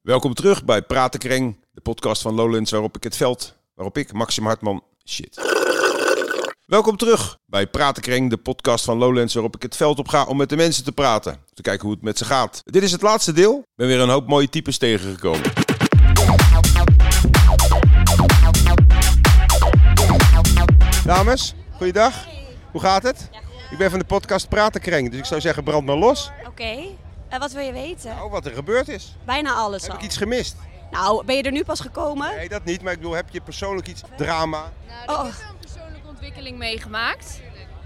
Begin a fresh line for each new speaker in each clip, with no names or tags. Welkom terug bij Pratenkreng, de podcast van Lowlands waarop ik het veld, waarop ik, Maxim Hartman, shit. Welkom terug bij Pratenkreng, de podcast van Lowlands waarop ik het veld op ga om met de mensen te praten. Te kijken hoe het met ze gaat. Dit is het laatste deel. Ik ben weer een hoop mooie types tegengekomen. Dames, goeiedag. Hoe gaat het? Ik ben van de podcast Pratenkreng, dus ik zou zeggen brand maar los.
Oké. En wat wil je weten?
Oh, wat er gebeurd is.
Bijna alles
Heb
al.
ik iets gemist?
Nou, ben je er nu pas gekomen?
Nee, dat niet, maar ik bedoel, heb je persoonlijk iets drama?
Nou,
Oh.
er is wel een persoonlijke ontwikkeling meegemaakt.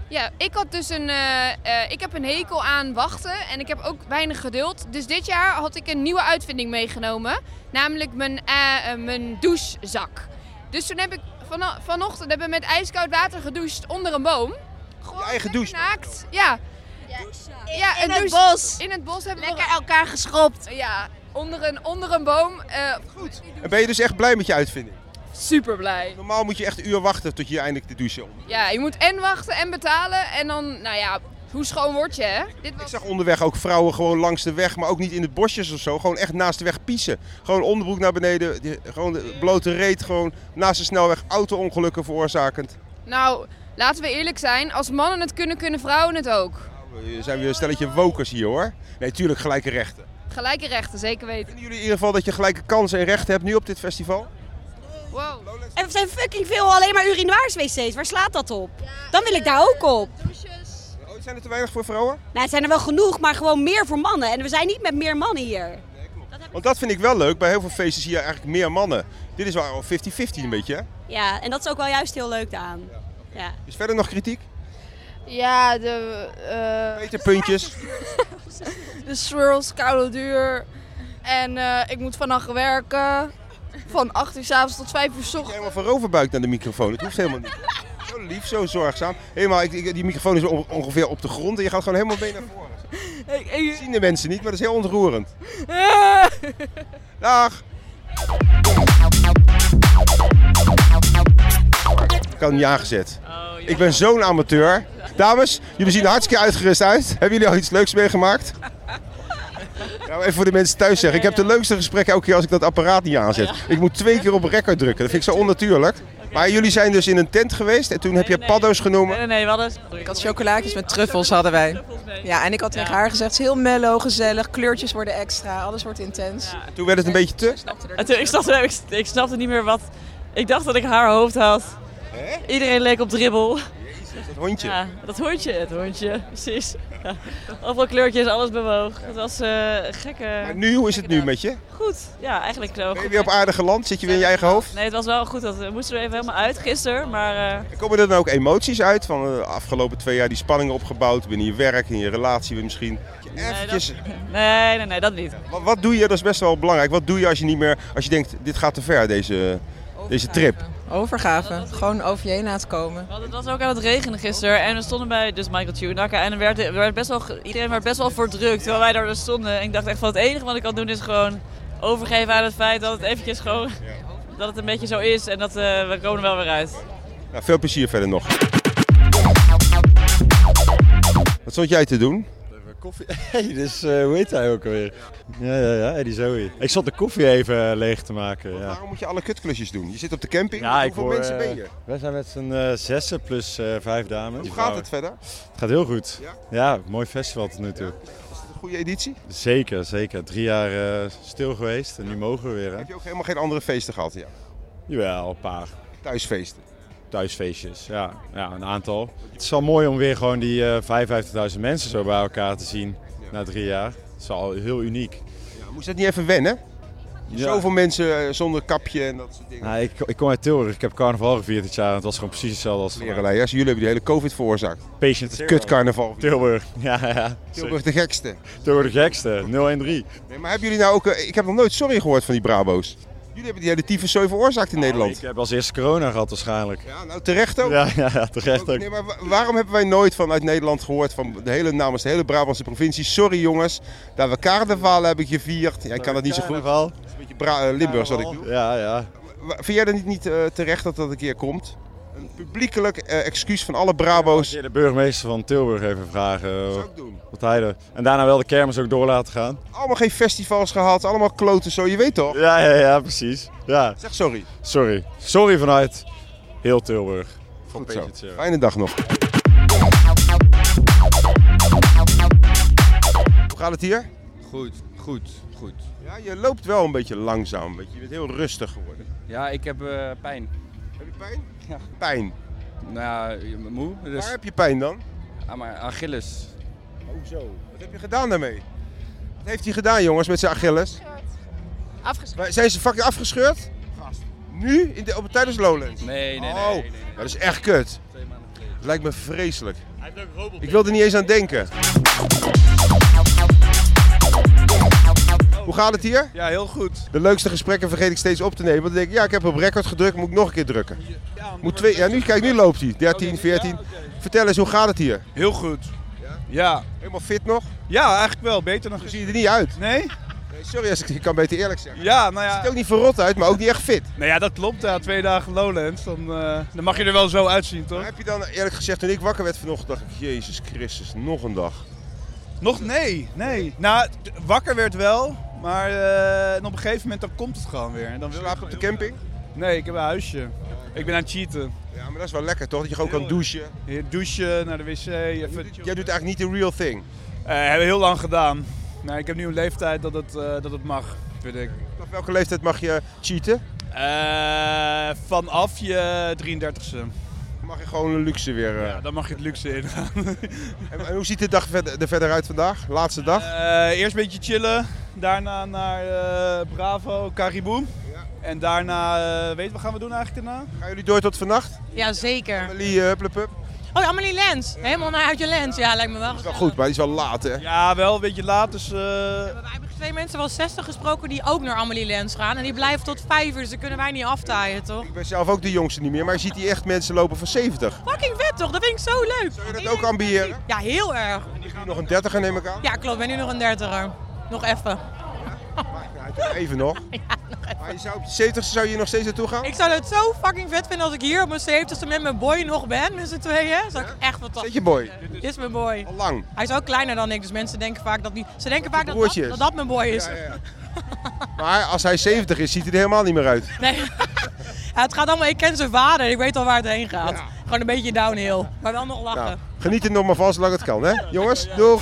Ja, ik had dus een, eh, eh, ik heb een hekel aan wachten en ik heb ook weinig geduld. Dus dit jaar had ik een nieuwe uitvinding meegenomen, namelijk mijn, eh, eh, mijn douchezak. Dus toen heb ik vano- vanochtend heb ik met ijskoud water gedoucht onder een boom. Gewoon
Je eigen
Oh, lekker
douche.
Naakt, ja. ja een
in het
douche-
bos.
In het bos hebben
Lekker
we...
elkaar geschopt.
Ja, onder een, onder een boom. eh, Goed.
En ben je dus echt blij met je uitvinding?
Super blij.
Normaal moet je echt een uur wachten tot je eindelijk de douche om.
Ja, je moet en wachten en betalen en dan, nou ja, hoe schoon word je, hè? Dit
Ik
was...
zag onderweg ook vrouwen gewoon langs de weg, maar ook niet in de bosjes of zo. Gewoon echt naast de weg piezen. Gewoon onderbroek naar beneden, die- gewoon de blote reet, gewoon naast de snelweg auto-ongelukken veroorzakend.
Nou, laten we eerlijk zijn, als mannen het kunnen, kunnen vrouwen het ook.
Nou, we zijn weer een stelletje wokers hier hoor. Nee, tuurlijk gelijke rechten.
Gelijke rechten, zeker weten.
Vinden jullie in ieder geval dat je gelijke kansen en rechten hebt nu op dit festival?
Wow.
En we zijn fucking veel alleen maar urinoirs wc's. Waar slaat dat op? Dan wil ik daar ook op.
Oh, zijn er te weinig voor vrouwen?
Nou, het zijn er wel genoeg, maar gewoon meer voor mannen. En we zijn niet met meer mannen hier.
Want dat vind ik wel leuk. Bij heel veel feesten zie je eigenlijk meer mannen. Dit is wel 50-50 een beetje hè?
Ja, en dat is ook wel juist heel leuk aan. Ja.
Is verder nog kritiek?
Ja, de, eh
Peter puntjes.
de swirls, koude duur. En eh, ik moet vannacht werken. Van 8 uur s'avonds tot 5 uur s
Ik
ochtends.
helemaal van roverbuik naar de microfoon. Het hoeft helemaal niet. Zo lief, zo zorgzaam. Helemaal, ik, ik- die microfoon is on- ongeveer op de grond en je gaat gewoon helemaal mee naar voren. Dat zien de mensen niet, maar dat is heel ontroerend. Dag! Ik had hem niet aangezet.
Oh,
Ik ben zo'n amateur. Dames, jullie zien er hartstikke uitgerust uit. Hebben jullie al iets leuks meegemaakt? Nou, even voor de mensen thuis zeggen. Ik heb de leukste gesprekken elke keer als ik dat apparaat niet aanzet. Ik moet twee keer op record drukken. Dat vind ik zo onnatuurlijk. Maar jullie zijn dus in een tent geweest en toen heb je paddo's genomen.
Nee, nee, nee, wat is
Ik had chocolaatjes met truffels hadden wij. Ja, en ik had tegen haar gezegd, het is heel mellow, gezellig, kleurtjes worden extra, alles wordt intens.
Ja.
Toen werd het een beetje te.
En toen, ik, snapte, ik, ik snapte niet meer wat... Ik dacht dat ik haar hoofd had. Iedereen leek op dribbel.
Dat hondje.
Ja, dat hondje, het hondje, precies. Ja. Overal kleurtjes, alles bewoog. Het was eh
Maar
gekke...
nu, hoe is het nu met je?
Goed, ja, eigenlijk wel
Ben je
goed.
weer op aardige land? Zit je weer in je eigen hoofd?
Nee, het was wel goed. Dat we moesten er even helemaal uit gisteren, maar... eh,
En Komen er dan ook emoties uit van de afgelopen twee jaar die spanningen opgebouwd binnen je werk, in je relatie weer misschien? Eventjes,
nee, nee, nee, dat niet.
wat, wat doe je, dat is best wel belangrijk, wat doe je als je niet meer, als je denkt dit gaat te ver deze, deze trip?
Overgave, gewoon over je heen laten komen.
Want het was ook aan het regenen gisteren en we stonden bij dus Michael Tunakker en er werd, er werd best wel, ge- iedereen werd best wel verdrukt terwijl wij daar dus stonden. En ik dacht echt van het enige wat ik kan doen is gewoon overgeven aan het feit dat het eventjes gewoon, dat het een beetje zo is en dat eh, we komen er wel weer uit.
Nou, veel plezier verder nog. Wat stond jij te doen?
Koffie. Hey, dus eh, hoe heet hij ook alweer? Ja, ja, ja, Eddie Zoe. Ik zat de koffie even eh, leeg te maken. Ja,
Waarom moet je alle kutklusjes doen? Je zit op de camping,
ja
hoeveel mensen ben je?
eh, wij zijn met z'n eh, zessen plus eh, vijf dames.
Hoe gaat het verder?
Het gaat heel goed.
Ja?
Ja, mooi festival tot nu toe.
Een goede editie?
Zeker, zeker. Drie jaar eh, stil geweest en nu mogen we weer. Hè?
Heb je ook helemaal geen andere feesten gehad? Ja.
Jawel, een paar
Thuisfeesten.
thuisfeestjes. Ja, ja een aantal. Het is wel mooi om weer gewoon die eh 55.000 mensen zo bij elkaar te zien na drie jaar. Het is al heel uniek.
Ja, moest dat niet even wennen?
Ja.
Zoveel mensen eh, zonder kapje en dat soort dingen.
Nou, ik, ik kom uit Tilburg. Ik heb carnaval gevierd dit jaar. En het was gewoon precies hetzelfde als
Leren leiden. jullie hebben die hele COVID veroorzaakt.
Patient
Kutcarnaval.
Tilburg. Ja, ja.
Tilburg de gekste.
Tilburg de gekste. 013.
Nee, maar hebben jullie nou ook... eh, Ik heb nog nooit sorry gehoord van die Brabo's. Jullie hebben die hele tyfuszooi veroorzaakt in Nederland.
Ik heb als eerste corona gehad waarschijnlijk.
Ja, nou terecht ook.
Ja, ja, ja, terecht ook.
Nee, maar wa- waarom hebben wij nooit vanuit Nederland gehoord van de hele, namens de hele Brabantse provincie... Sorry jongens, dat we carnaval hebben gevierd. Ja, ik kan dat niet zo goed. Een
Carnaval.
beetje Bra- eh, Limburgs wat ik doe.
Ja, ja.
Wa- Vind jij dat niet, niet eh, terecht dat dat een keer komt? Een publiekelijk eh, excuus van alle Brabo's.
De burgemeester van Tilburg even vragen. eh,
zou ik doen.
wat hij er... En daarna wel de kermis ook door laten gaan.
Allemaal geen festivals gehad, allemaal kloten zo, je weet toch?
Ja, ja, ja, precies. Ja,
Zeg sorry.
sorry. Sorry vanuit heel Tilburg. Voor
Goed zo.
Patient Zero.
Fijne dag nog. Hoe gaat het hier?
Goed, goed, goed.
Ja, je loopt wel een beetje langzaam. Een beetje. Je bent heel rustig geworden.
Ja, ik heb eh, pijn.
Heb je pijn? Ja. Pijn.
Nou ja, moe.
Waar
Dus,
heb je pijn dan?
ah, maar Achilles.
Oh zo. Wat heb je gedaan daarmee? Wat heeft hij gedaan jongens met zijn Achilles? Afgescheurd. Zijn ze fucking afgescheurd? Nu? In de, op, tijdens Lowlands?
Nee, nee, nee.
Oh,
nee, nee, nee.
dat is echt kut.
Twee maanden geleden.
Het lijkt me vreselijk. Ik wil er niet eens aan denken. Hoe gaat het hier?
Ja, heel goed.
De leukste gesprekken vergeet ik steeds op te nemen. Want dan denk ik, ja, ik heb op record gedrukt, moet ik nog een keer drukken. Moet twee, ja, nu, kijk, nu loopt
Oh,
hij. 13, 14. Vertel eens, hoe gaat het hier?
Heel goed. Ja.
Helemaal fit nog?
Ja, eigenlijk wel. Beter dan
Zo zie je er niet uit.
Nee?
Nee, sorry, als ik, ik kan beter eerlijk zeggen.
Ja, nou
Het ziet ook niet verrot uit, maar ook niet echt fit.
Nou ja, dat klopt. Ja, twee dagen Lowlands. Dan, eh, dan mag je er wel zo uitzien,
Maar
toch?
heb je dan eerlijk gezegd, toen ik wakker werd vanochtend, dacht ik, Jezus Christus, nog een dag.
Nog nee, nee. Nou, t- wakker werd wel, maar eh, en op een gegeven moment dan komt het gewoon weer. En Dan wil je
Slaap op de
gewoon
camping?
heel- Nee, ik heb een huisje. Ik ben aan het cheaten.
Ja, maar dat is wel lekker toch? Dat je gewoon kan douchen.
Hier Douchen, naar de wc. Even
Jij doet eigenlijk niet de real thing.
Eh, hebben we heel lang gedaan. Nou, ik heb nu een leeftijd dat het, eh, dat het mag, vind ik.
Op welke leeftijd mag je cheaten?
Eh, vanaf je 33ste.
Dan mag je gewoon een luxe weer. eh.
Ja, dan mag je het luxe in.
En, en hoe ziet de dag verder, er verder uit vandaag? Laatste dag?
Eh, eerst een beetje chillen. Daarna naar eh, Bravo, Caribou. En daarna, eh, weet je wat gaan we doen eigenlijk daarna?
Gaan jullie door tot vannacht?
Ja, zeker.
Emily, eh, hup, hup, hup.
Oh, Amelie Lens. Helemaal naar uit je lens. Ja, lijkt me wel.
Is wel goed, maar die is wel laat hè?
Ja, wel een beetje laat, dus... eh,
We hebben twee mensen van 60 gesproken die ook naar Amelie Lens gaan. En die blijven tot vijf uur, dus dat kunnen wij niet aftaaien, toch?
Ik ben zelf ook de jongste niet meer, maar je ziet hier echt mensen lopen van 70.
Fucking vet, toch? Dat vind ik zo leuk.
Zou je dat ook ambiëren?
Ja, heel erg.
Die gaan nog een 30er neem ik aan.
Ja, klopt. Ik ben nu nog een dertiger. Nog even.
Maar, ja, even nog. Maar je zou op je 70 zou je hier nog steeds naartoe gaan?
Ik zou het zo fucking vet vinden als ik hier op mijn 70ste met mijn boy nog ben, met z'n tweeën. Zou ik echt
Zet
fantastisch
je boy,
Dit is mijn boy.
al lang.
Hij is ook kleiner dan ik, dus mensen denken vaak dat die... Ze denken vaak dat dat,
broertje is.
dat dat mijn boy is.
Ja, ja, ja. Maar als hij 70 is, ziet hij er helemaal niet meer uit.
Nee. Ja, het gaat allemaal, ik ken zijn vader, ik weet al waar het heen gaat. Gewoon een beetje downhill, maar wel nog lachen.
Nou, geniet er nog maar van zolang het kan, hè? Jongens, doeg!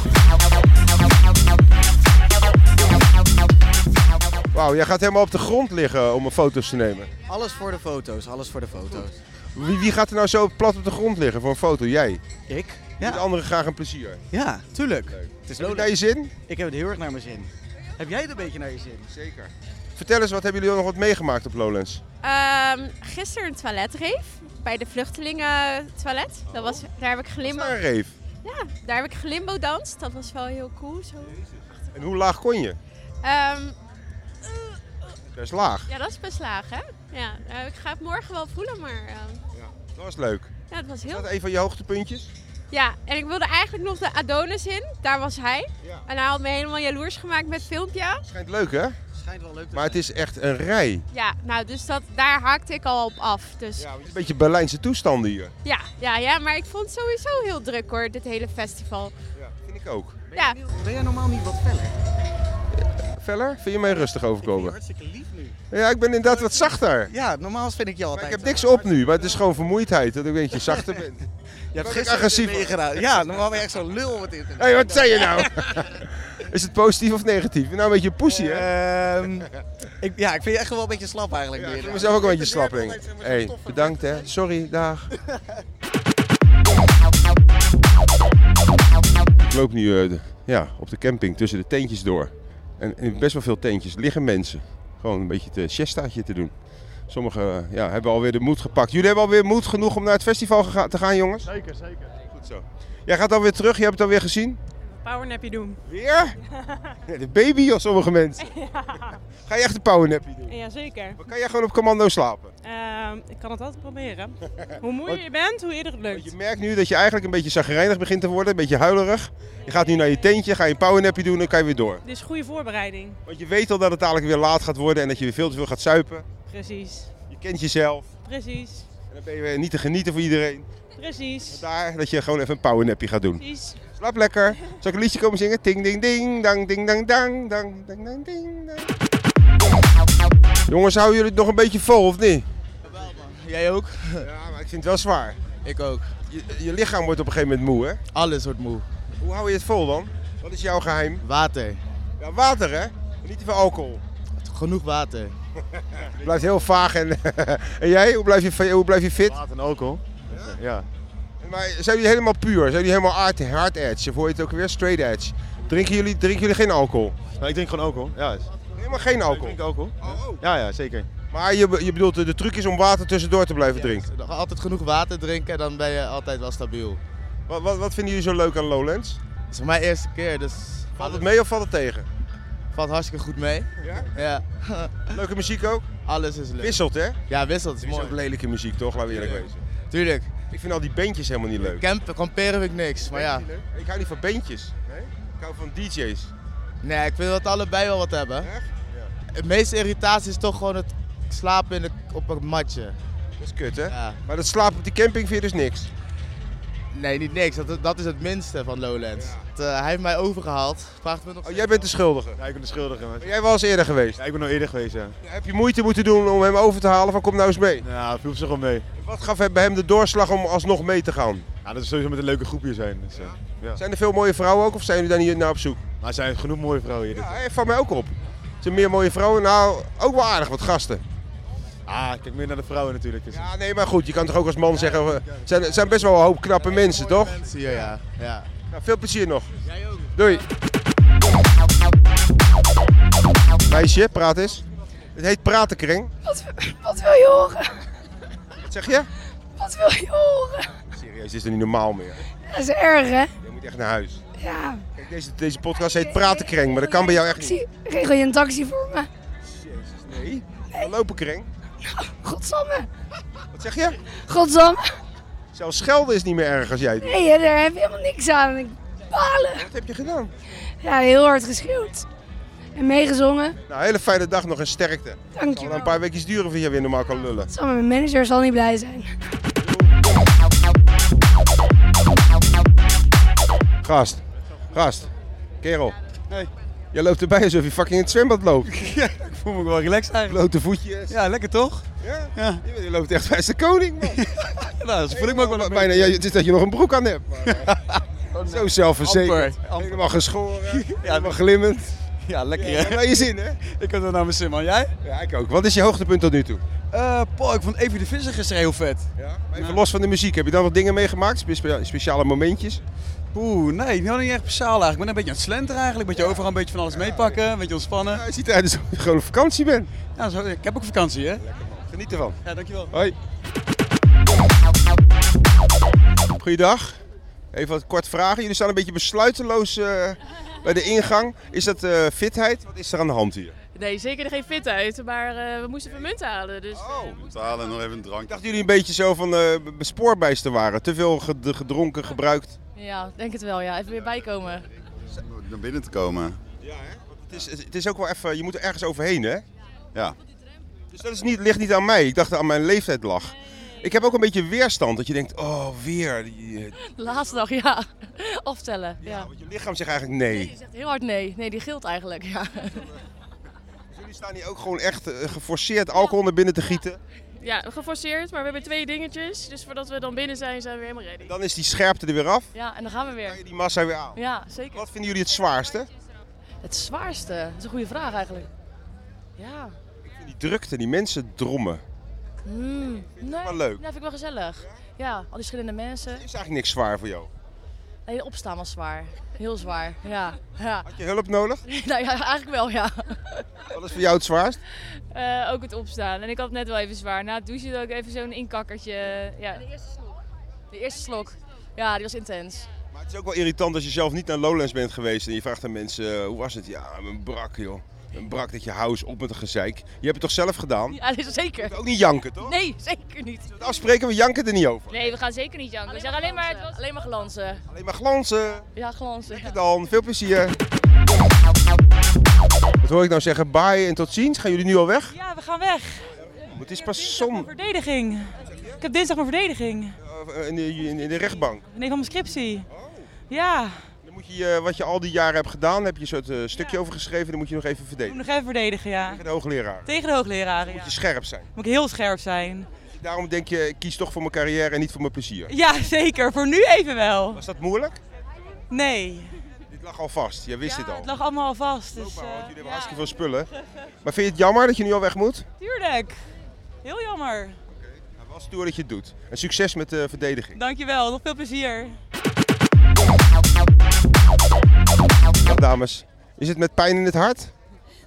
Wauw, jij gaat helemaal op de grond liggen om een foto's te nemen.
Alles voor de foto's, alles voor de foto's.
Wie, wie gaat er nou zo plat op de grond liggen voor een foto? Jij.
Ik?
Ja. De
Ja,
anderen graag een plezier.
ja tuurlijk. Het is
Heb je
leuk.
daar je zin?
Ik heb het heel erg naar mijn zin. Heb jij het een beetje naar je zin?
Zeker. Vertel eens, wat hebben jullie nog wat meegemaakt op Lowlands?
Ehm, gisteren een toiletreef bij de vluchtelingen eh, toilet. Dat was, daar heb ik
Is
glimbo,
daar een reef?
ja, daar heb ik glimbo dans. Dat was wel heel cool. Zo.
En hoe laag kon je?
Ehm,
Best laag.
ja, dat is best laag, hè? Ja, eh, ik ga het morgen wel voelen, maar ehm,
Dat was leuk.
ja, het was
Is
heel.
dat een van je hoogtepuntjes?
Ja, en ik wilde eigenlijk nog de Adonis in. Daar was hij.
Ja.
En hij had me helemaal jaloers gemaakt met filmpje.
Schijnt leuk, hè?
Schijnt wel leuk te
Maar het is echt een rij.
Ja, nou, dus dat, daar haakte ik al op af. Dus
Ja, een beetje Berlijnse toestanden hier.
ja, ja, ja, maar ik vond het sowieso heel druk hoor, dit hele festival.
Ja, vind ik ook.
Ja,
zijn. Ben jij normaal niet wat feller?
Veller, vind je mij rustig
Ben je
overkomen?
hartstikke lief nu.
Ja, ik ben inderdaad wat zachter.
Ja, normaal vind ik je
Maar
altijd.
ik heb niks op nu, maar het is gewoon vermoeidheid dat ik een beetje zachter ben.
Je hebt
ik
gisteren
agressief.
weer gedaan. Ja, normaal ben je echt zo'n lul wat in.
Hé, hey, wat zei je nou? Is het positief of negatief? Nou, een beetje poesie, hè?
Ehm, ik, ja, ik vind je echt wel een beetje slap eigenlijk.
Ja,
nu.
ik vind mezelf ook een beetje
Ik
slap,
probeer
denk ik.
altijd, zeg maar, zo'n
hey,
toffe
bedankt, hè. Sorry, dag. Ik loop nu eh, de- ja, op de camping tussen de tentjes door. En in best wel veel tentjes liggen mensen. Gewoon een beetje te siestaatje te doen. Sommigen eh, ja, hebben alweer de moed gepakt. Jullie hebben alweer moed genoeg om naar het festival gega- te gaan, jongens? Zeker, zeker. Goed zo. Jij gaat alweer terug, je hebt het alweer gezien?
Powernapje doen.
Weer? Ja, de baby of sommige mensen. Ga je echt een powernappie doen?
Jazeker. Ehm,
Dan kan jij gewoon op commando slapen.
ik kan het altijd proberen. Hoe moeier je bent, hoe eerder het
Want
lukt.
je merkt nu dat je eigenlijk een beetje zagrijnig begint te worden, een beetje huilerig. Je gaat nu naar je tentje, ga je een powernapje doen, dan kan je weer door.
Dit is goede voorbereiding.
Want je weet al dat het dadelijk weer laat gaat worden en dat je weer veel te veel gaat zuipen.
Precies.
Je kent jezelf.
Precies.
En Dan ben je niet te genieten voor iedereen.
Precies.
Daar, dat je gewoon even een powernapje gaat doen.
Precies.
Slaap lekker. Zal ik een liedje komen zingen? Ting ding ding, dang ding dang dang, dang ding dang ding dang. Jongens, houden jullie het nog een beetje vol of niet?
Jij ook?
Ja, maar ik vind het wel zwaar.
Ik ook.
Je, je lichaam wordt op een gegeven moment moe, hè?
Alles wordt moe.
Hoe hou je het vol dan? Wat is jouw geheim?
Water.
Ja, water hè? Niet te veel alcohol.
Genoeg water.
Blijft heel vaag en, en jij, hoe blijf je, hoe blijf je fit?
Water en alcohol. Ja.
Maar zijn jullie helemaal puur? Zijn jullie helemaal hard, hard edge? Of hoor je het ook weer straight edge? Drinken jullie, drinken jullie geen alcohol?
Maar ik drink gewoon alcohol. Ja, is-
Helemaal geen alcohol? Oh,
Ik drink alcohol. Ja, ja, zeker.
Maar je, be- je bedoelt, de truc is om water tussendoor te blijven drinken?
Altijd genoeg water drinken, dan ben je altijd wel stabiel.
Wat, wat, wat vinden jullie zo leuk aan Lowlands?
Het is voor mijn eerste keer, dus...
Valt het mee of valt het tegen?
Valt hartstikke goed mee.
Ja?
Ja.
Leuke muziek ook?
Alles is leuk.
Wisselt hè?
Ja, wisselt. Is
Er is
mooi.
ook lelijke muziek toch, laten we eerlijk wezen.
Tuurlijk.
Ik vind al die bandjes helemaal niet leuk.
Campen, kamperen vind ik niks, maar ja.
Ik hou niet van bandjes. Ik hou van DJ's.
Nee, ik wil dat allebei wel wat hebben. Het meeste irritatie is toch gewoon het slapen in de, op een matje.
Dat is kut, hè? Maar dat slapen op die camping vind je dus niks?
Nee, niet niks. Dat, dat is het minste van Lowlands. Het, eh, hij heeft mij overgehaald. Vraagt me nog
Oh, jij bent de schuldige?
Ja, ik ben de schuldige. maar-
Ben jij wel eens eerder geweest?
Ja, ik ben nog eerder geweest, ja.
Heb je moeite moeten doen om hem over te halen van kom nou eens mee?
Ja, viel op zich wel mee.
Wat gaf bij hem de doorslag om alsnog mee te gaan?
Ja, dat is sowieso met een leuke groep hier zijn. Dus, eh, ja.
Zijn er veel mooie vrouwen ook of zijn jullie daar niet naar op zoek?
Maar er zijn genoeg mooie vrouwen hier.
Ja, hij valt mij ook op. Er zijn meer mooie vrouwen. Nou, ook wel aardig wat gasten.
Ah, ik kijk meer naar de vrouwen natuurlijk. Dus.
Ja, nee, maar goed, je kan toch ook als man zeggen, eh, zijn, er zijn best wel een hoop knappe mensen, toch?
mensen hier, ja. ja.
Nou, veel plezier nog. Jij ook. Doei. Meisje, praat eens. Het heet Pratenkring.
Wat, wat wil je horen?
Wat zeg je?
Wat wil je horen?
Serieus, dit is er niet normaal meer.
Dat is erg, hè?
Je moet echt naar huis.
Ja.
Kijk, deze, deze podcast heet Pratenkring, maar dat kan bij jou echt niet.
Taxi, regel je een taxi voor me?
Nee. Dan lopen kring.
Godsamme.
Wat zeg je?
Godsamme.
Zelfs schelden is niet meer erg als jij het doet.
Nee, hè, daar heb je helemaal niks aan. Ik balen.
Wat heb je gedaan?
Ja, heel hard geschreeuwd. En meegezongen.
Nou, hele fijne dag nog en sterkte.
Dankjewel.
Het zal wel een paar weken duren voordat je weer normaal kan lullen.
Godsamme, mijn manager zal niet blij zijn.
Gast, gast, kerel.
Nee.
Jij loopt erbij alsof je fucking in het zwembad loopt.
Ja, ik voel me wel relaxed eigenlijk.
Blote voetjes.
Ja, lekker toch?
Ja. Je, je loopt echt bij de koning, man.
nou, dat voel ik me ook wel een
Bijna, ja, het is dat je nog een broek aan hebt. maar, eh, Zo zelfverzekerd.
Amper, amper.
Helemaal geschoren, helemaal glimmend.
Ja, lekker.
Ja, je hebt wel je zin, hè?
Ik heb wel naar mijn zin, man. Jij?
Ja, ik ook. Wat is je hoogtepunt tot nu toe?
Eh, Paul, ik vond Evie de Visser gisteren heel vet.
Ja? nou- Even los van de muziek, heb je dan wat dingen meegemaakt? Spe- Speciale momentjes?
Oeh, nee, nou niet echt speciaal eigenlijk. Ik ben een beetje aan het slenteren eigenlijk. Een beetje overal een beetje van alles meepakken, een beetje ontspannen.
je ziet eruit alsof je gewoon op vakantie bent.
Ja, zo, ik heb ook vakantie, hè?
Geniet ervan.
Ja, dankjewel.
Hoi. Goeiedag. Even wat kort vragen. Jullie staan een beetje besluiteloos eh, bij de ingang. Is dat eh, fitheid? Wat is er aan de hand hier?
Nee, zeker geen fit uit, maar eh, we moesten even munt halen. Dus, oh,
halen en nog even een drank.
Dachten jullie een beetje zo van eh spoorbijster waren? Te veel ged- gedronken, gebruikt?
ja, denk het wel. Ja. Even weer bijkomen.
Naar binnen te komen.
Het is, het is ook wel even, je moet er ergens overheen hè?
Ja.
Dus dat is niet, ligt niet aan mij. Ik dacht dat aan mijn leeftijd lag. Ik heb ook een beetje weerstand. Dat je denkt, oh weer. Die- Het
Laatste dag, ja. Aftellen. Ja, ja.
lichaam zegt eigenlijk nee.
Die zegt heel hard nee. Nee, die gilt eigenlijk. Ja.
Jullie staan hier ook gewoon echt eh, geforceerd alcohol naar binnen te gieten.
ja, geforceerd, maar we hebben twee dingetjes. Dus voordat we dan binnen zijn, zijn we helemaal ready.
Dan is die scherpte er weer af.
Ja, en dan gaan we weer.
Die massa weer aan.
Ja, zeker.
Wat vinden jullie het zwaarste?
Het zwaarste? Dat is een goede vraag eigenlijk. Ja.
Die drukte, die mensen drommen. Eigenlijk
Hmm. Nee,
wel leuk.
Dat vind ik wel gezellig. Ja, al die verschillende mensen.
niks zwaar voor jou.
Nee, opstaan was zwaar. Heel zwaar. Ja. ja.
Had je hulp nodig?
Nou ja, eigenlijk wel, ja.
Wat is voor jou het zwaarst?
Eh, ook het opstaan. En ik had het net wel even zwaar. Na het douchen had ik even zo'n inkakkertje. eh, Ja. De eerste slok. De eerste slok. Ja, die was intens.
Maar het is ook wel irritant als je zelf niet naar Lowlands bent geweest en je vraagt aan mensen, eh, hoe was het? Ja, een brak joh. Een brak dat je house op met een gezeik. Je hebt het toch zelf gedaan?
Ja, dat is zeker.
Ook niet janken toch?
Nee, zeker niet.
Afspreken, we janken er niet over.
Nee, we gaan zeker niet janken. We zeggen alleen maar, het was... alleen maar glanzen.
Alleen maar glanzen.
Ja, glanzen. ja.
Dan, veel plezier. Wat hoor ik nou zeggen? Bye en tot ziens. Gaan jullie nu al weg?
Ja, we gaan weg.
Het is pas zon.
Verdediging. Ik heb dinsdag mijn verdediging.
Eh, In de, in in de rechtbank.
Nee, van mijn scriptie. Ja,
Dan moet je, je, eh, wat je al die jaren hebt gedaan, heb je een soort eh, stukje over geschreven. Dan moet je nog even
ik moet
verdedigen.
nog even verdedigen, ja.
Tegen de hoogleraar.
Tegen de hoogleraren, ja.
Moet je scherp zijn.
Moet ik heel scherp zijn.
Daarom denk je, ik kies toch voor mijn carrière en niet voor mijn plezier.
Ja, zeker. Voor nu even wel.
Was dat moeilijk?
Nee.
Dit lag al vast. Je wist dit al.
Het lag allemaal al vast. Dus, eh,
Je hebt hartstikke veel spullen. Maar vind je het jammer dat je nu al weg moet?
tuurlijk. Heel jammer.
Nou, wel stoer dat je het doet. En succes met de verdediging.
Dankjewel. Nog veel plezier.
Ja, dames, is het met pijn in het hart?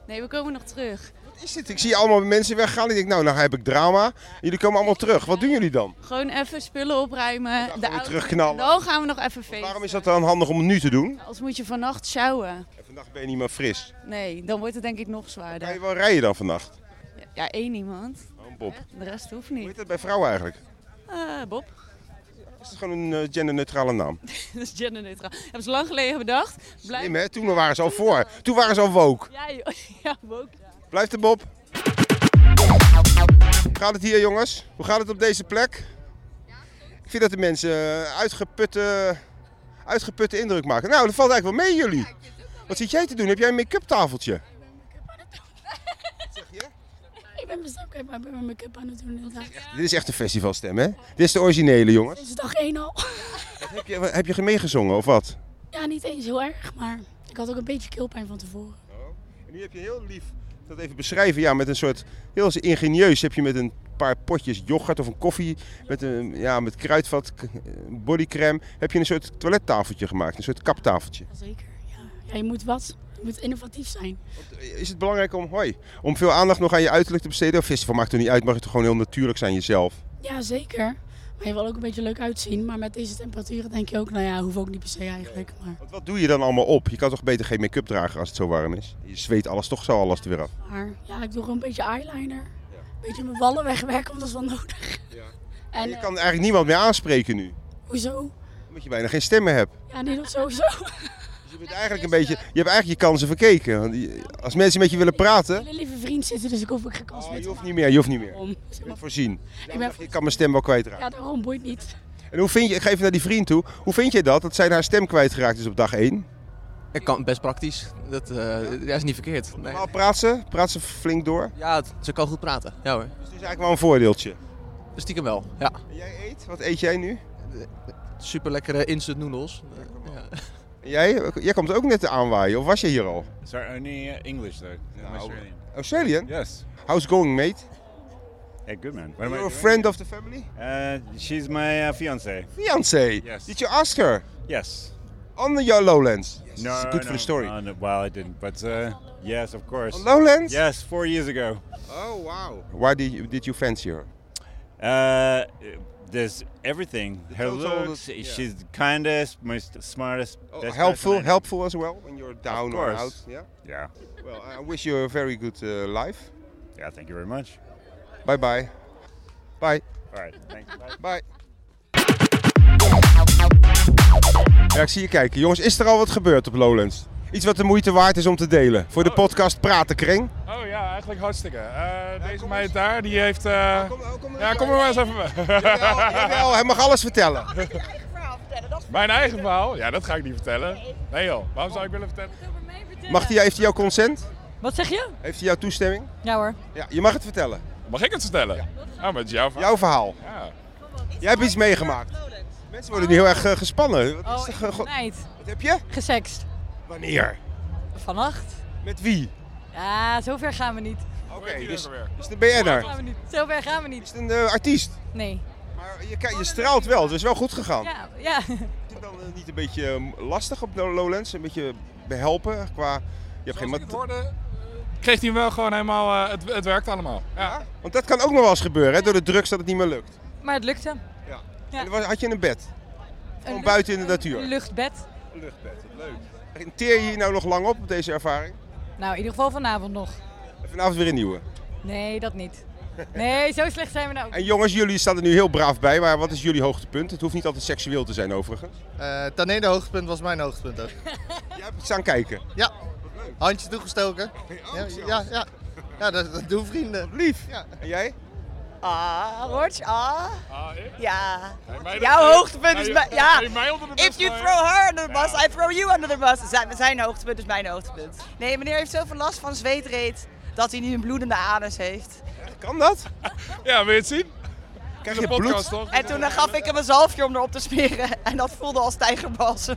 Nee, we komen nog terug.
Wat is dit? Ik zie allemaal mensen weggaan. Ik denk, nou, nou heb ik drama. Jullie komen allemaal terug. Wat doen jullie dan?
Gewoon even spullen opruimen. de auto-
terugknallen.
Dan gaan we nog even feesten.
Waarom is dat dan handig om nu te doen?
Als moet je vannacht sjouwen.
Vannacht ben je niet meer fris.
Nee, dan wordt het denk ik nog zwaarder.
Kan je wel rijden dan vannacht?
Ja, één iemand.
Oh, Bob. Hoe
De rest hoeft niet.
heet dat bij vrouwen eigenlijk?
Eh, Bob.
Is het gewoon een eh, genderneutrale naam?
dat is genderneutraal. Hebben ze lang geleden bedacht. Blijf...
Slim, hè? Toen waren ze al voor. Toen waren ze al woke.
Ja, joh. ja, Bob.
Blijft de Bob. Hoe gaat het hier, jongens? Hoe gaat het op deze plek? Ik vind dat de mensen eh, uitgeputte, uitgeputte indruk maken. Nou, dat valt eigenlijk wel mee, jullie. Wat zit jij te doen? Heb jij een make-up tafeltje?
Ik ben bestemd, maar ik ben mijn make-up aan het doen de hele dag.
Dit is echt een festivalstem, hè? Dit is de originele, jongens.
Dit is dag 1 al.
Heb je, heb je meegezongen of wat?
Ja, niet eens heel erg, maar ik had ook een beetje keelpijn van tevoren.
En nu heb je heel lief... Dat even beschrijven, ja, met een soort heel ingenieus heb je met een paar potjes yoghurt of een koffie, met, een, ja, met kruidvat, k- bodycreme, heb je een soort toilettafeltje gemaakt, een soort kaptafeltje.
Zeker, ja. ja. Je moet wat. Je moet innovatief zijn.
Is het belangrijk om, hoi, om veel aandacht nog aan je uiterlijk te besteden? Of festival maakt er niet uit, mag het gewoon heel natuurlijk zijn jezelf.
Ja, zeker. Maar je wil ook een beetje leuk uitzien. Maar met deze temperaturen denk je ook, nou ja, hoef ook niet per se eigenlijk. Maar
Wat doe je dan allemaal op? Je kan toch beter geen make-up dragen als het zo warm is? Je zweet alles toch zo alles er weer af.
Maar ja, ik doe gewoon een beetje eyeliner. Een beetje mijn wallen wegwerken, want dat is wel nodig. En
Je
eh,
kan eigenlijk niemand meer aanspreken nu,
hoezo?
omdat je bijna geen stemmen hebt.
Ja, nee, dat sowieso.
Je bent eigenlijk een beetje, je hebt eigenlijk je kansen verkeken. Want je- als mensen met je willen praten,
Mijn lieve vriend zitten, dus ik hoef ook geen kans meer te
hoeft niet meer, Oh, je hoeft niet meer.
maken.
Je bent voorzien.
Ik ben,
Ik kan mijn stem wel kwijtraken.
ja, daarom boeit niet.
En hoe vind je, ik geef even naar die vriend toe, hoe vind je dat, dat zij haar stem kwijtgeraakt is op dag 1?
Ik kan best praktisch. Dat, eh, ja, is niet verkeerd. Nee.
Normaal Nou, praat ze, praat ze flink door.
Ja, het- ze kan goed praten. Ja hoor.
Dus het is eigenlijk wel een voordeeltje.
Stiekem wel, ja.
jij eet? Wat eet jij nu?
Super lekkere instant noodles. Ja.
En Jij, jij komt ook net aanwaaien, of was je hier al?
Is there any uh, English though? No. Australian.
oh. Australian?
Yes.
How's going, mate?
Yeah, good man.
You're a friend of the family?
Uh, she's my uh, fiance.
Fiance?
Yes.
Did you ask her?
Yes.
On the your lowlands? Yes.
No,
It's good
no,
for the story.
no, no, well, I didn't, but uh, yes, of course.
On Lowlands?
Yes, four years ago.
Oh, wow. Why did you, did you fancy her?
Uh, there's everything. Her
total-
looks.
yeah.
She's the kindest, most smartest.
Oh,
best
helpful,
person I know.
helpful as well when you're down or
course.
out. Yeah.
Yeah.
Well, I wish you a very good uh, life.
Yeah. Thank you very much.
Bye bye. Bye.
All right. Thanks. Bye.
Bye. Ja, ik zie je kijken. Jongens, is er al wat gebeurd op Lowlands? Iets wat de moeite waard is om te delen. Voor de podcast Pratenkring.
Oh ja, eigenlijk hartstikke. Eh, deze meid daar, die heeft... eh, ja, kom er maar eens even bij.
oh, Jawel, hij mag alles vertellen.
Mijn eigen verhaal? Ja, dat ga ik niet vertellen. Nee joh, waarom zou ik willen vertellen?
Mag die, heeft hij jouw consent?
Wat zeg je?
Heeft hij jouw toestemming?
Ja hoor.
Ja, je mag het vertellen.
Mag ik het vertellen? Ja, maar het is jouw verhaal.
Jouw verhaal.
Ja.
Jij hebt iets meegemaakt. Mensen worden nu heel erg eh, gespannen. Wat is
Oh,
er
ik
ge-
ben
go-
meid.
Wat heb je?
Gesext.
Wanneer?
Vannacht.
Met wie?
Ja, zover gaan we niet. Oké,
dus- Is het een BN'er?
gaan we niet. Zover gaan we niet. Is
het een eh, artiest?
Nee.
Maar je, ki- je straalt wel, dus het is wel goed gegaan.
Ja, ja.
Dan eh, niet een beetje eh, lastig op de Lowlands, een beetje behelpen qua... Je hebt geen mat-
Kreeg hij wel gewoon helemaal... eh, het, het werkt allemaal.
Ja. Want dat kan ook nog wel eens gebeuren, hè? door de drugs dat het niet meer lukt.
Maar het lukte.
Ja.
Ja.
En was- had je een bed? Gewoon
lucht-
buiten in de natuur?
Een luchtbed.
Een luchtbed, leuk. En teer je hier nou nog lang op, op deze ervaring?
Nou, in ieder geval vanavond nog.
En vanavond weer een nieuwe.
Nee, dat niet. Nee, zo slecht zijn we nou ook.
En jongens, jullie staan er nu heel braaf bij, maar wat is jullie hoogtepunt? Het hoeft niet altijd seksueel te zijn overigens.
Eh Tanede hoogtepunt was mijn hoogtepunt ook.
Jij hebt het staan kijken.
Ja.
Oh,
Handje toegestoken. Ja, ja, ja. ja dat, dat doen vrienden.
Lief.
Ja.
En jij?
Ah, Rots, ah. Ja.
mij dat-
Jouw hoogtepunt is...
Nee,
mijn- Ja.
nee, mij onder de bus
If you
gooien.
throw her under the bus, I throw you under the bus. Zijn, zijn hoogtepunt is mijn hoogtepunt. Nee, meneer heeft zoveel last van zweetreet dat hij nu een bloedende anus heeft.
Kan dat?
Ja, wil je het zien?
Krijg
je podcast, toch?
En toen eh, gaf ik hem een zalfje om erop te smeren. En dat voelde als tijgerbalsem.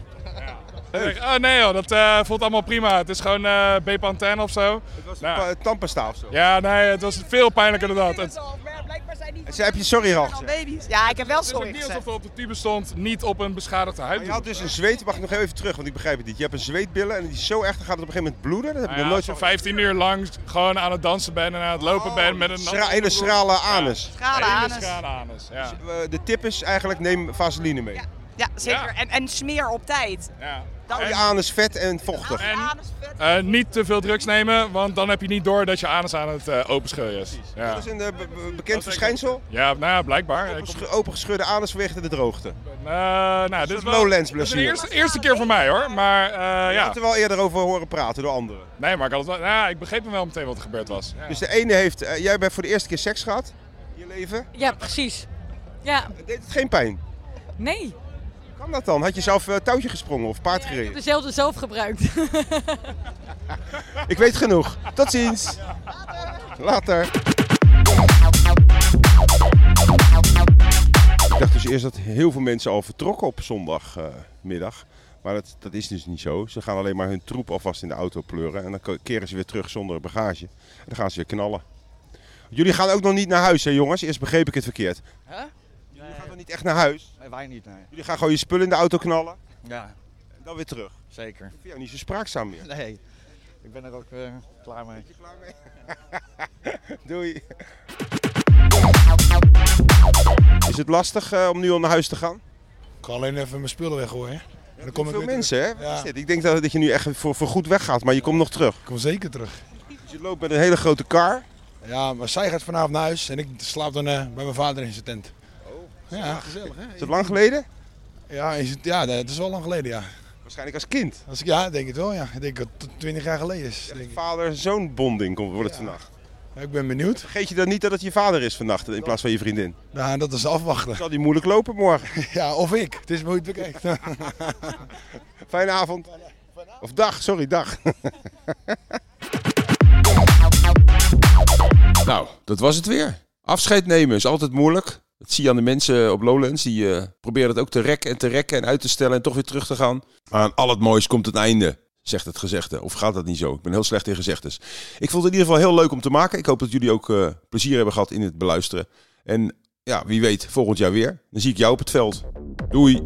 Oh nee joh, dat eh, voelt allemaal prima. Het is gewoon eh bepanthen of zo. Het was
eh, tandpasta of zo.
Nou. Ja, nee, het was veel pijnlijker dan dat. Het,
heb je sorry al gezegd?
Baby's. Ja, ik heb wel
het is ook
sorry
niet
gezegd.
alsof er op de tube stond, niet op een beschadigde huid.
Je had dus een zweet, mag ik nog heel even terug, want ik begrijp het niet. Je hebt een zweetbillen en die is zo erg, dan gaat het op een gegeven moment bloeden. Dat heb
Nou
ik
ja,
nog nooit
als je 15 uur lang gewoon aan het dansen ben en aan het lopen ben met een
Schra- hele schrale anus.
Schrale
Hele
anus.
schrale anus, ja.
Eh, de tip is eigenlijk, neem vaseline mee.
Ja, zeker. En, en smeer op tijd.
Ja.
Dan
Je anus vet en vochtig.
Eh, niet te veel drugs nemen, want dan heb je niet door dat je anus aan het eh openscheuren is. Ja.
Dat is een eh, be- be- bekend verschijnsel.
ja, nou ja, blijkbaar. Ik-
Opengesche- Opengescheurde anus vanwege de droogte.
eh, nou, dit is wel
lowlands
dit is de
blessure.
eerste, eerste keer voor mij hoor, maar eh,
Je
ja.
had er wel eerder over horen praten door anderen.
Nee, maar ik, had het wel, nou, ik begreep hem wel meteen wat er gebeurd was. Ja.
Dus de ene heeft, eh, jij bent voor de eerste keer seks gehad in je leven.
Ja, precies. Ja,
Deed het geen pijn?
nee.
Kan dat dan? Had je zelf eh, touwtje gesprongen of paard gereden?
Dezelfde zelf gebruikt.
Ik weet genoeg. Tot ziens. Later. Ik dacht dus eerst dat heel veel mensen al vertrokken op zondagmiddag. maar dat, dat is dus niet zo. Ze gaan alleen maar hun troep alvast in de auto pleuren. En dan ko- keren ze weer terug zonder bagage. En dan gaan ze weer knallen. Jullie gaan ook nog niet naar huis, hè jongens? Eerst begreep ik het verkeerd.
Hè? Jullie gaan
toch niet echt naar huis?
Nee, wij niet, nee.
Jullie gaan gewoon je spullen in de auto knallen.
Ja,
En dan weer terug.
zeker.
Ik vind jou niet zo spraakzaam meer.
Nee, ik ben er ook eh, klaar mee.
Doei. Is het lastig eh, om nu al naar huis te gaan?
Ik kan alleen even mijn spullen weggooien. En dan kom ik
Veel
weer
mensen, hè?
terug.
Wat
Ja,
is dit? Ik denk dat, dat je nu echt voor, voor goed weggaat, maar je komt nog terug.
ik kom zeker terug.
Dus je loopt met een hele grote car.
Ja, maar zij gaat vanavond naar huis en ik slaap dan eh, bij mijn vader in zijn tent. Ja, gezellig hè?
Is dat lang geleden?
Ja, is het, ja, dat is wel lang geleden, ja.
Waarschijnlijk als kind.
Als ik, ja, denk het wel, ja. Ik denk dat het 20 jaar geleden is. denk ik.
Vader-zoon bonding komt- wordt het vannacht.
Ik ben benieuwd.
Vergeet je dan niet dat het je vader is vannacht in plaats van je vriendin?
Nou, dat is afwachten.
Zal die moeilijk lopen morgen?
Ja, of ik. Het is moeilijk bekijkt.
Fijne avond. Of dag, sorry, dag. Nou, dat was het weer. Afscheid nemen is altijd moeilijk. Dat zie je aan de mensen op Lowlands. Die eh, proberen het ook te rekken en te rekken en uit te stellen en toch weer terug te gaan. Maar aan al het moois komt het einde, zegt het gezegde. Of gaat dat niet zo? Ik ben heel slecht in gezegdes. Ik vond het in ieder geval heel leuk om te maken. Ik hoop dat jullie ook eh, plezier hebben gehad in het beluisteren. En ja, wie weet, volgend jaar weer. Dan zie ik jou op het veld. Doei!